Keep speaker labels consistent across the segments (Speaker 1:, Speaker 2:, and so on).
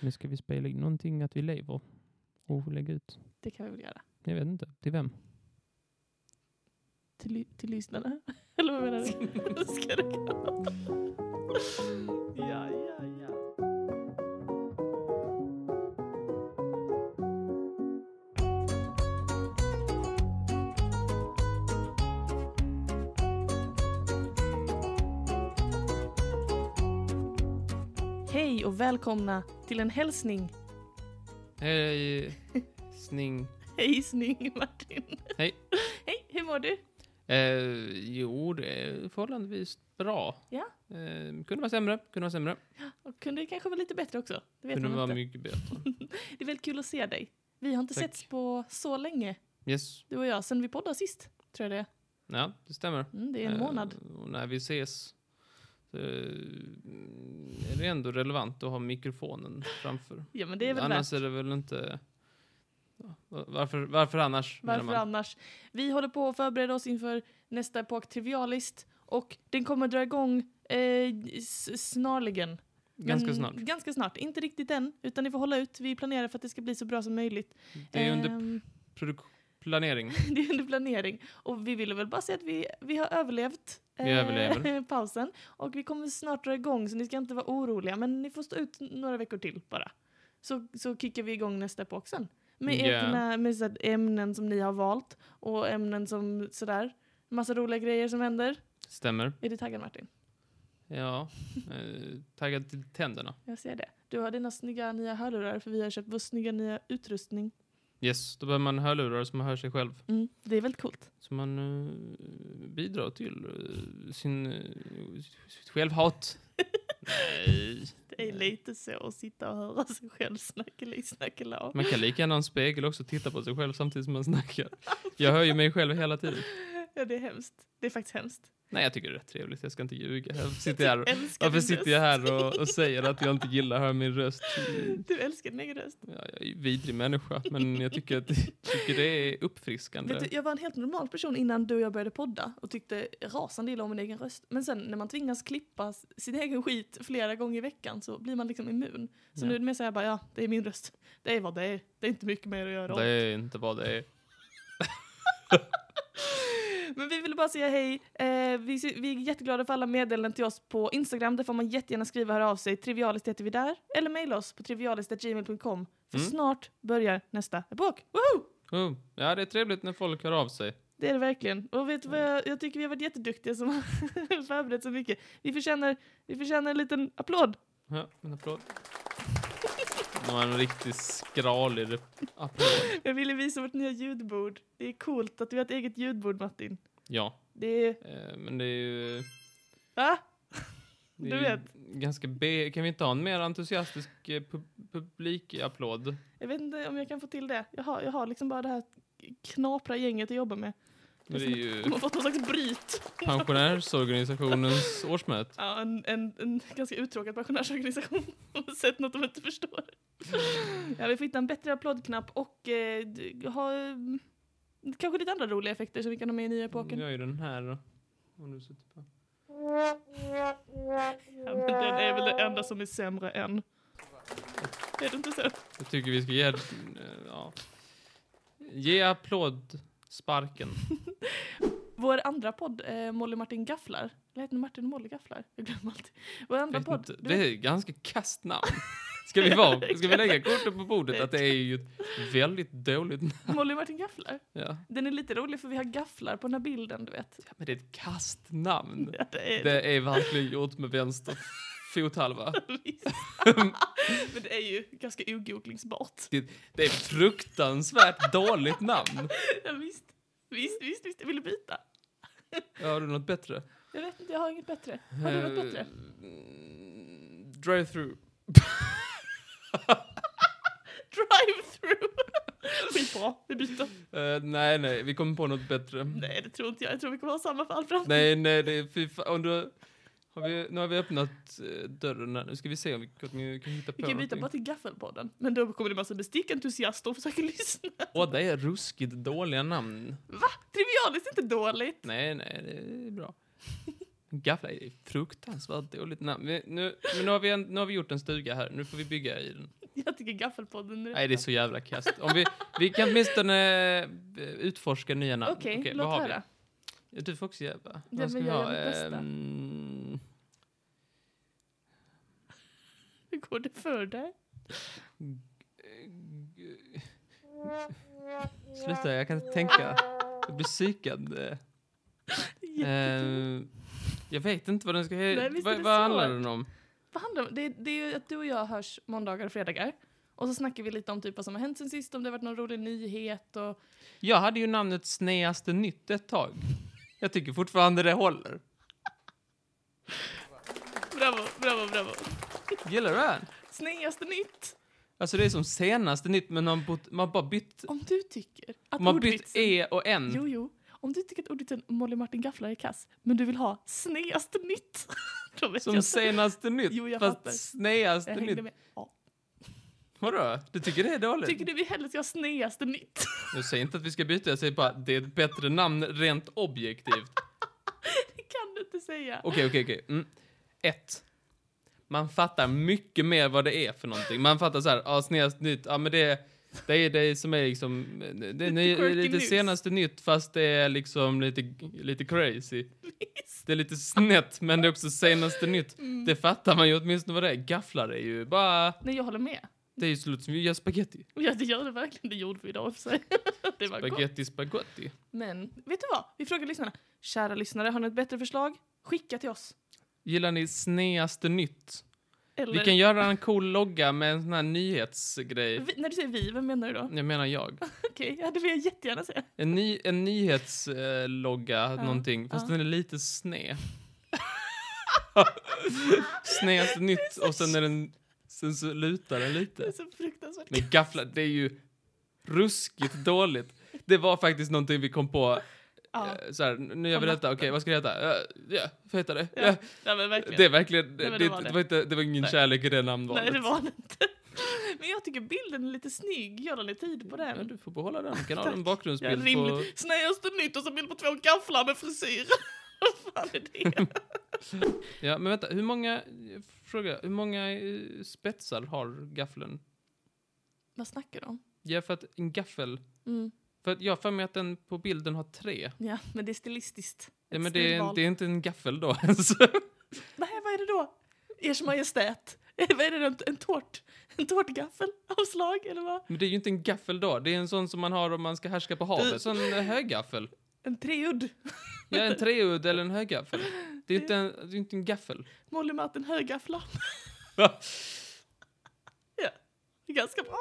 Speaker 1: Nu ska vi spela in någonting att vi lever och lägga ut.
Speaker 2: Det kan vi väl göra.
Speaker 1: Jag vet inte, till vem?
Speaker 2: Till, ly- till lyssnarna? Eller vad menar du? Ska det ja, ja, ja. Hej och välkomna till en hälsning.
Speaker 1: Hej, Eh, sning.
Speaker 2: Hej snygg Martin.
Speaker 1: Hej.
Speaker 2: Hej, hur mår du?
Speaker 1: Eh, jo, det är förhållandevis bra.
Speaker 2: Ja.
Speaker 1: Eh, kunde vara sämre, kunde vara sämre.
Speaker 2: Och kunde det kanske vara lite bättre också. Det vet
Speaker 1: Kunde
Speaker 2: man
Speaker 1: vara
Speaker 2: inte.
Speaker 1: mycket bättre.
Speaker 2: Det är väldigt kul att se dig. Vi har inte
Speaker 1: Tack.
Speaker 2: setts på så länge,
Speaker 1: Yes,
Speaker 2: du och jag, sen vi poddade sist. Tror jag det är.
Speaker 1: ja, det stämmer.
Speaker 2: Mm, det är en
Speaker 1: Eh,
Speaker 2: månad.
Speaker 1: Och när vi ses så eh, är det ändå relevant att ha mikrofonen framför.
Speaker 2: Ja, men det är väl
Speaker 1: annars
Speaker 2: värt.
Speaker 1: är det väl inte... Ja, Varför, varför annars? menar
Speaker 2: Varför annars? Vi håller på att förbereda oss inför nästa epok, Trivialist, och den kommer dra igång eh, s- snarligen. Men
Speaker 1: Ganska snart.
Speaker 2: Ganska snart. Inte riktigt än, utan ni får hålla ut. Vi planerar för att det ska bli så bra som möjligt.
Speaker 1: Det är under
Speaker 2: Ehm,
Speaker 1: produk- planering.
Speaker 2: det är under planering. Och vi ville väl bara säga att vi, vi har överlevt eh,
Speaker 1: Vi överlever.
Speaker 2: pausen. Och vi kommer snart dra igång, så ni ska inte vara oroliga. Men ni får stå ut några veckor till bara. Så, så kickar vi igång nästa epok sen. Med
Speaker 1: Ja.
Speaker 2: egna med så här, ämnen som ni har valt och ämnen som sådär. Massa roliga grejer som händer.
Speaker 1: Stämmer.
Speaker 2: Är du taggad Martin?
Speaker 1: Ja. Eh, taggad till tänderna.
Speaker 2: Jag ser det. Du har dina snygga nya hörlurar för vi har köpt vår snygga nya utrustning.
Speaker 1: Yes, då behöver man hörlurar som man hör sig själv.
Speaker 2: Mm, det är väldigt coolt.
Speaker 1: Så man eh, bidrar till eh, sin, eh, sitt självhat. Nej.
Speaker 2: Det är lite så att sitta och höra sig själv snackela i snackela av.
Speaker 1: Man kan lika gärna ha en spegel också och titta på sig själv samtidigt som man snackar. Jag hör ju mig själv hela tiden.
Speaker 2: Ja, det är hemskt. Det är faktiskt hemskt.
Speaker 1: Nej, jag tycker det är rätt trevligt. Jag ska inte ljuga. Jag sitter här.
Speaker 2: Älskar
Speaker 1: Varför
Speaker 2: din
Speaker 1: sitter
Speaker 2: röst.
Speaker 1: jag här och, och säger att jag inte gillar att höra min röst?
Speaker 2: Du älskar din egen röst.
Speaker 1: Ja, jag är ju en vidrig människa, men jag tycker, att, tycker det är uppfriskande.
Speaker 2: Vet du, jag var en helt normal person innan du och jag började podda och tyckte rasande illa om min egen röst. Men sen när man tvingas klippa s- sin egen skit flera gånger i veckan så blir man liksom immun. Så
Speaker 1: Ja.
Speaker 2: nu är det mer såhär bara, ja, det är min röst. Det är vad det är. Det är inte mycket mer att göra åt.
Speaker 1: Det är inte vad det är.
Speaker 2: Men vi ville bara säga hej. Eh, vi, ser- vi är jätteglada för alla meddelanden till oss på Instagram. Där får man jättegärna skriva och höra av sig. Trivialist heter vi där. Eller mejla oss på trivialist.gmail.com. För
Speaker 1: Mm.
Speaker 2: snart börjar nästa epok. Woho!
Speaker 1: Oh, ja, det är trevligt när folk hör av sig.
Speaker 2: Det är det verkligen. Och vet du vad jag, jag tycker vi har varit jätteduktiga som har förberett så mycket. Vi förtjänar, vi förtjänar en liten applåd.
Speaker 1: Ja, en applåd. Det var en riktigt skralig rep- applåd.
Speaker 2: Jag ville visa vårt nya ljudbord. Det är coolt att vi har ett eget ljudbord Martin.
Speaker 1: Ja,
Speaker 2: Det är...
Speaker 1: eh, men det är ju...
Speaker 2: Ah,
Speaker 1: Det är
Speaker 2: Du
Speaker 1: ju
Speaker 2: vet.
Speaker 1: Ganska B. Kan vi inte ha en mer entusiastisk eh, pu- publikapplåd?
Speaker 2: jag vet inte om jag kan få till det. Jag har, jag har liksom bara det här knapra gänget att jobba med.
Speaker 1: Men det är ju
Speaker 2: De har fått någon slags bryt.
Speaker 1: pensionärsorganisationens årsmöte.
Speaker 2: Ja, en, en, en ganska uttråkad pensionärsorganisation. Har sett något de inte förstår. Ja, vi får hitta en bättre applådknapp och eh, d- ha eh, kanske lite andra roliga effekter som vi kan ha med i nya
Speaker 1: Jag
Speaker 2: epoken.
Speaker 1: gör ju den här då. Om du sitter på.
Speaker 2: Ja, men den är väl det enda som är sämre än. Är det inte så?
Speaker 1: Jag tycker vi ska ge... eh, Ja. Ge applåd sparken.
Speaker 2: Vår andra podd, eh, Molly Martin Gafflar. Eller heter den Martin och Molly Gafflar? Jag glömmer alltid. Vår andra
Speaker 1: Vet
Speaker 2: podd.
Speaker 1: inte. Det är ett ganska kasst namn. Ska vi, vara, ska vi lägga korten på bordet att det är ju ett väldigt dåligt namn?
Speaker 2: Molly Martin Gafflar.
Speaker 1: Ja.
Speaker 2: Den är lite rolig för vi har gafflar på den här bilden, du vet.
Speaker 1: Ja, Men det är ett kasst namn.
Speaker 2: Ja, det är
Speaker 1: Mm. Det är verkligen gjort med vänster fothalva.
Speaker 2: Visst. Men det är ju ganska ogooglingsbart.
Speaker 1: Det är ett fruktansvärt dåligt namn.
Speaker 2: Ja, visst. Visst, visst, visst. Jag ville byta.
Speaker 1: Ja, Har du något bättre?
Speaker 2: Jag vet inte, jag har inget bättre. Har du något bättre?
Speaker 1: Eh, Drive-through.
Speaker 2: Drive-through! Skitbra, vi byter.
Speaker 1: Eh, nej, nej, vi kommer på något bättre.
Speaker 2: Nej, det tror inte jag. Jag tror vi kommer ha samma för all framtid.
Speaker 1: Nej, nej, det är fy fan. Om du, har vi, nu har vi öppnat eh, dörren här. Nu ska vi se om vi kan, vi kan hitta på
Speaker 2: Vi kan byta
Speaker 1: någonting.
Speaker 2: bara till Gaffelpodden. Men då kommer det massa bestickentusiaster och försöker lyssna.
Speaker 1: Åh, det är ruskigt dåliga namn.
Speaker 2: Trivialiskt är inte dåligt.
Speaker 1: Nej, nej, det är bra. Gaffla är fruktansvärt dåligt namn. Men nu, men nu, har vi en, nu har vi gjort en stuga här, nu får vi bygga i den.
Speaker 2: Jag tycker Gaffelpodden är
Speaker 1: Nej, det är så jävla kast. Om vi, vi kan åtminstone eh, utforska nya namn.
Speaker 2: Okej,
Speaker 1: Okej, vad
Speaker 2: låt
Speaker 1: har
Speaker 2: höra.
Speaker 1: vi? Du får också jävla.
Speaker 2: Ja,
Speaker 1: Vad ska
Speaker 2: men
Speaker 1: vi
Speaker 2: jag
Speaker 1: ha?
Speaker 2: gör mitt bästa.
Speaker 1: Ehm,
Speaker 2: Hur går det för dig?
Speaker 1: Sluta, jag kan inte tänka. Jag blir psykad. Eh, ehm, jag vet inte vad den ska
Speaker 2: Nej,
Speaker 1: heta.
Speaker 2: visst är
Speaker 1: Vad,
Speaker 2: det
Speaker 1: vad handlar
Speaker 2: svårt.
Speaker 1: den om?
Speaker 2: Vad handlar det om? Det, det är ju att du och jag hörs måndagar och fredagar. Och så snackar vi lite om typ vad som har hänt sen sist, om det har varit någon rolig nyhet och...
Speaker 1: Jag hade ju namnet Sneaste Nytt ett tag. Jag tycker fortfarande det håller.
Speaker 2: Bravo, bravo, bravo.
Speaker 1: Gillar du den?
Speaker 2: Sneaste nytt!
Speaker 1: Alltså det är som senaste nytt, men man, bott, man bara bytt,
Speaker 2: Om du tycker att
Speaker 1: man bytt
Speaker 2: ordvitsen-
Speaker 1: E och N.
Speaker 2: Jo, jo. Om du tycker att ordvitsen Molly Martin gafflar är kass, men du vill ha sneaste nytt. Då vet
Speaker 1: Som
Speaker 2: jag.
Speaker 1: senaste nytt,
Speaker 2: Jo, jag fattar.
Speaker 1: fast sneaste
Speaker 2: Jag
Speaker 1: nytt.
Speaker 2: hängde med. Ja.
Speaker 1: Vadå? Du tycker det är dåligt?
Speaker 2: Tycker du vi hellre ska ha sneaste nytt?
Speaker 1: Jag säger inte att vi ska byta, jag säger bara att det är ett bättre namn rent objektivt.
Speaker 2: Det kan du inte säga.
Speaker 1: Okej, okej, okej. Mm. Ett. Man fattar mycket mer vad det är för någonting. Man fattar så här, ja, senast nytt, ja men det är det, är det som är liksom, det, det,
Speaker 2: Lite
Speaker 1: är
Speaker 2: quirky
Speaker 1: lite
Speaker 2: news.
Speaker 1: senaste nytt fast det är liksom lite, lite crazy.
Speaker 2: Visst. Mm.
Speaker 1: Det är lite snett men det är också senaste nytt. Det fattar man ju åtminstone vad det är. Gafflar är ju bara,
Speaker 2: Nej, jag håller med.
Speaker 1: det är ju slut som vi gör spaghetti.
Speaker 2: Ja, det gör det verkligen. Det gjorde vi idag i och för sig. Det var gott.
Speaker 1: Spaghetti, spaghetti.
Speaker 2: Men vet du vad? Vi frågar lyssnarna. Kära lyssnare, har ni ett bättre förslag? Skicka till oss.
Speaker 1: Gillar ni sneaste nytt?
Speaker 2: Eller,
Speaker 1: Vi kan göra en cool logga med en sån här nyhetsgrej.
Speaker 2: Vi- när du säger vi, vem menar du då?
Speaker 1: Jag menar jag.
Speaker 2: Okej, ja, det vill jag jättegärna säga.
Speaker 1: En, ny, en nyhetslogga, någonting, fast
Speaker 2: ja.
Speaker 1: den är lite sned. Sned, alltså nytt och sen är den, sen så lutar den
Speaker 2: Det är
Speaker 1: lite.
Speaker 2: så fruktansvärt.
Speaker 1: Men gafflar, det är ju ruskigt dåligt. Det var faktiskt någonting vi kom på,
Speaker 2: Ja,
Speaker 1: eh, så här, nu gör
Speaker 2: På
Speaker 1: vi detta, okej
Speaker 2: natten.
Speaker 1: vad ska det heta? Eh, Ja, vad heter det?
Speaker 2: Ja,
Speaker 1: Ja,
Speaker 2: nej, men verkligen.
Speaker 1: Det är verkligen,
Speaker 2: Nej,
Speaker 1: det,
Speaker 2: men
Speaker 1: det,
Speaker 2: det var det.
Speaker 1: var inte, det var ingen
Speaker 2: Nej.
Speaker 1: kärlek i det namnvalet.
Speaker 2: Nej, det var det inte. Men jag tycker bilden är lite snygg. Gör den lite tid på
Speaker 1: Ja,
Speaker 2: den.
Speaker 1: Mm, du får behålla den, du kan ha
Speaker 2: Tack.
Speaker 1: en
Speaker 2: Ja,
Speaker 1: bakgrundsbild på...
Speaker 2: rimligt. Snäaste nytt och så bild på två gafflar med frisyr. Vad fan är det?
Speaker 1: Ja, men vänta, hur många, fråga, hur många eh, spetsar har gaffeln?
Speaker 2: Vad snackar de?
Speaker 1: Ja, för att en gaffel,
Speaker 2: Mm.
Speaker 1: för att jag har för mig att den på bilden har tre.
Speaker 2: Ja, men det är stilistiskt.
Speaker 1: Ja,
Speaker 2: Ett
Speaker 1: men det är,
Speaker 2: stilval.
Speaker 1: det är inte en gaffel då Alltså, ens.
Speaker 2: Nej, vad är det då? Ers Majestät. Eh, Vad är det? En, en tårt? En tårtgaffel av slag, eller vad?
Speaker 1: Men det är ju inte en gaffel då, det är en sån som man har om man ska härska på havet. Så en höggaffel.
Speaker 2: En treudd.
Speaker 1: Ja, en treudd eller en höggaffel. Det är inte en, det är inte en gaffel.
Speaker 2: Molly Martin högafflar.
Speaker 1: Va?
Speaker 2: Det är ganska bra.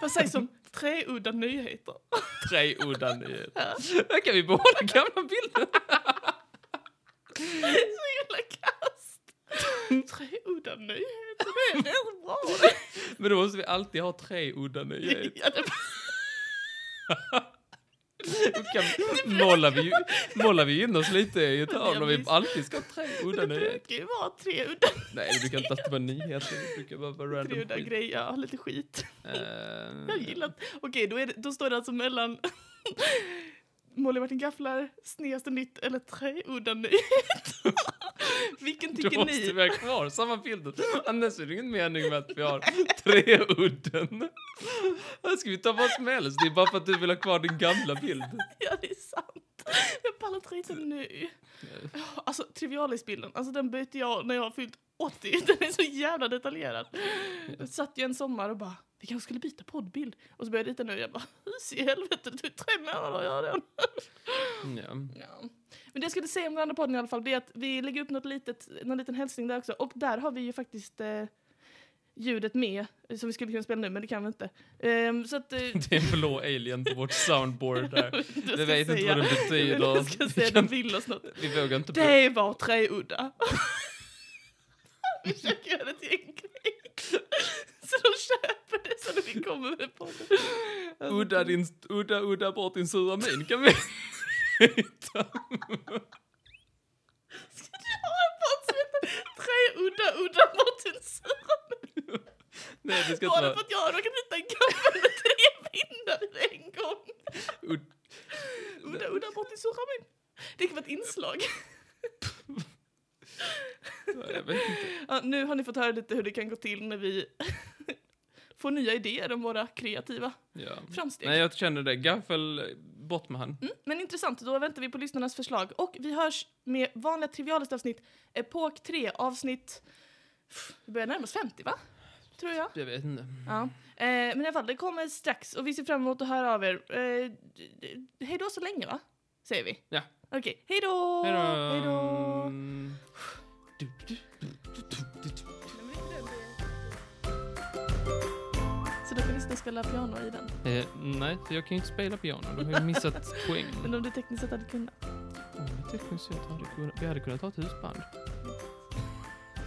Speaker 2: Vad sägs om treudda nyheter?
Speaker 1: Treudda nyhet. Där kan vi behålla gamla bilden.
Speaker 2: Så jävla kast. Treudda nyheter, det är väldigt bra.
Speaker 1: Men då måste vi alltid ha treudda nyhet.
Speaker 2: Ja, det-
Speaker 1: Då kan, målar, vi, ju- målar vi in oss lite i ett hörn om vi alltid ska ha treudda
Speaker 2: Det
Speaker 1: nyheter?
Speaker 2: brukar ju vara treudda,
Speaker 1: Nej, det brukar inte alltid vara nyheter, det brukar bara vara random
Speaker 2: treudda
Speaker 1: skit.
Speaker 2: grejer. Ja, lite skit.
Speaker 1: Eh,
Speaker 2: Jag gillar att- Okej, då, är det, då står det alltså mellan Molly Martin Gafflar, Sneaste Nytt eller Treudda Nyheter. Vilken
Speaker 1: Då
Speaker 2: tycker
Speaker 1: måste
Speaker 2: ni?
Speaker 1: vi ha kvar samma bilder. Annars är det ingen mening med att vi har tre udden. Här ska vi ta vad som helst. Det är bara för att du vill ha kvar din gamla bild.
Speaker 2: Ja, det är sant. Jag pallar inte riktigt nu. Alltså, Trivialis-bilden, alltså den bytte jag när jag har fyllt 80. Den är så jävla detaljerad. Jag satt jag en sommar och bara, vi kanske skulle byta poddbild. Och så började jag rita nu och jag bara, hus i helvete, det tog tre månader att göra den.
Speaker 1: Ja.
Speaker 2: Ja. Men det jag skulle säga om den andra podden i alla fall, det är att vi lägger upp något litet, någon liten hälsning där också. Och där har vi ju faktiskt eh, ljudet med, eh, som vi skulle kunna spela nu, men det kan vi inte. Ehm, så att... Eh,
Speaker 1: Det är en blå alien på vårt soundboard
Speaker 2: jag
Speaker 1: där.
Speaker 2: vet inte vad
Speaker 1: Vi
Speaker 2: jag ska
Speaker 1: vet inte vad den betyder. Vi,
Speaker 2: säga. Jag ska säga, den
Speaker 1: kan,
Speaker 2: vill oss något.
Speaker 1: vi vågar inte...
Speaker 2: Det var treudda. Vi försöker göra det till en grej. Så de köper det så när vi kommer med podden. Alltså,
Speaker 1: Udda, din, udda, udda bort din sura min kan vi hitta.
Speaker 2: Ska du ha en podd som heter Treudda udda mot en sura?
Speaker 1: Nej, det ska inte
Speaker 2: Bara
Speaker 1: vara...
Speaker 2: för att jag har råkat hitta en gaffel med tre pinnar en gång.
Speaker 1: Ud,
Speaker 2: Udda udda mot en sura min. Det kan vara ett inslag.
Speaker 1: vet inte.
Speaker 2: Ja, nu har ni fått höra lite hur det kan gå till när vi får nya idéer om våra kreativa
Speaker 1: Ja.
Speaker 2: framsteg.
Speaker 1: Nej, jag känner det. Gaffel, bort med han.
Speaker 2: Mm, men intressant, då väntar vi på lyssnarnas förslag. Och vi hörs med vanliga trivialist avsnitt, epok 3, avsnitt... Pff, Det börjar närma oss 50 va? Tror jag.
Speaker 1: Jag vet inte.
Speaker 2: Ja. Eh, men i alla fall, det kommer strax och vi ser fram emot att höra av er. Eh, d- d- hej då så länge va? Säger vi.
Speaker 1: Ja.
Speaker 2: Okej, hej då!
Speaker 1: Hej då.
Speaker 2: Hej då! Så då får lyssna spela piano i den.
Speaker 1: Eh, nej, för jag kan ju inte spela piano. Då har jag missat
Speaker 2: Men
Speaker 1: poängen.
Speaker 2: om du tekniskt sett hade kunnat.
Speaker 1: Åh, men tekniskt sett hade jag kunnat- Vi hade kunnat ha ett husband.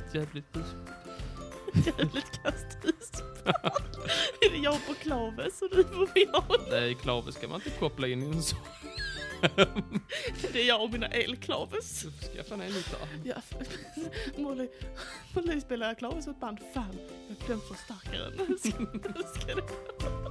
Speaker 1: Ett jävligt hus.
Speaker 2: Jävligt kasst Är det jag på klaves och du på piano?
Speaker 1: Nej, klaver ska man inte koppla in i en sån.
Speaker 2: Det är jag och mina elklaves.
Speaker 1: Skaffa en gitarr.
Speaker 2: Ja, Molly, Molly spelar klaves åt band. Fan, jag har glömt förstärkaren. Ska- ska det-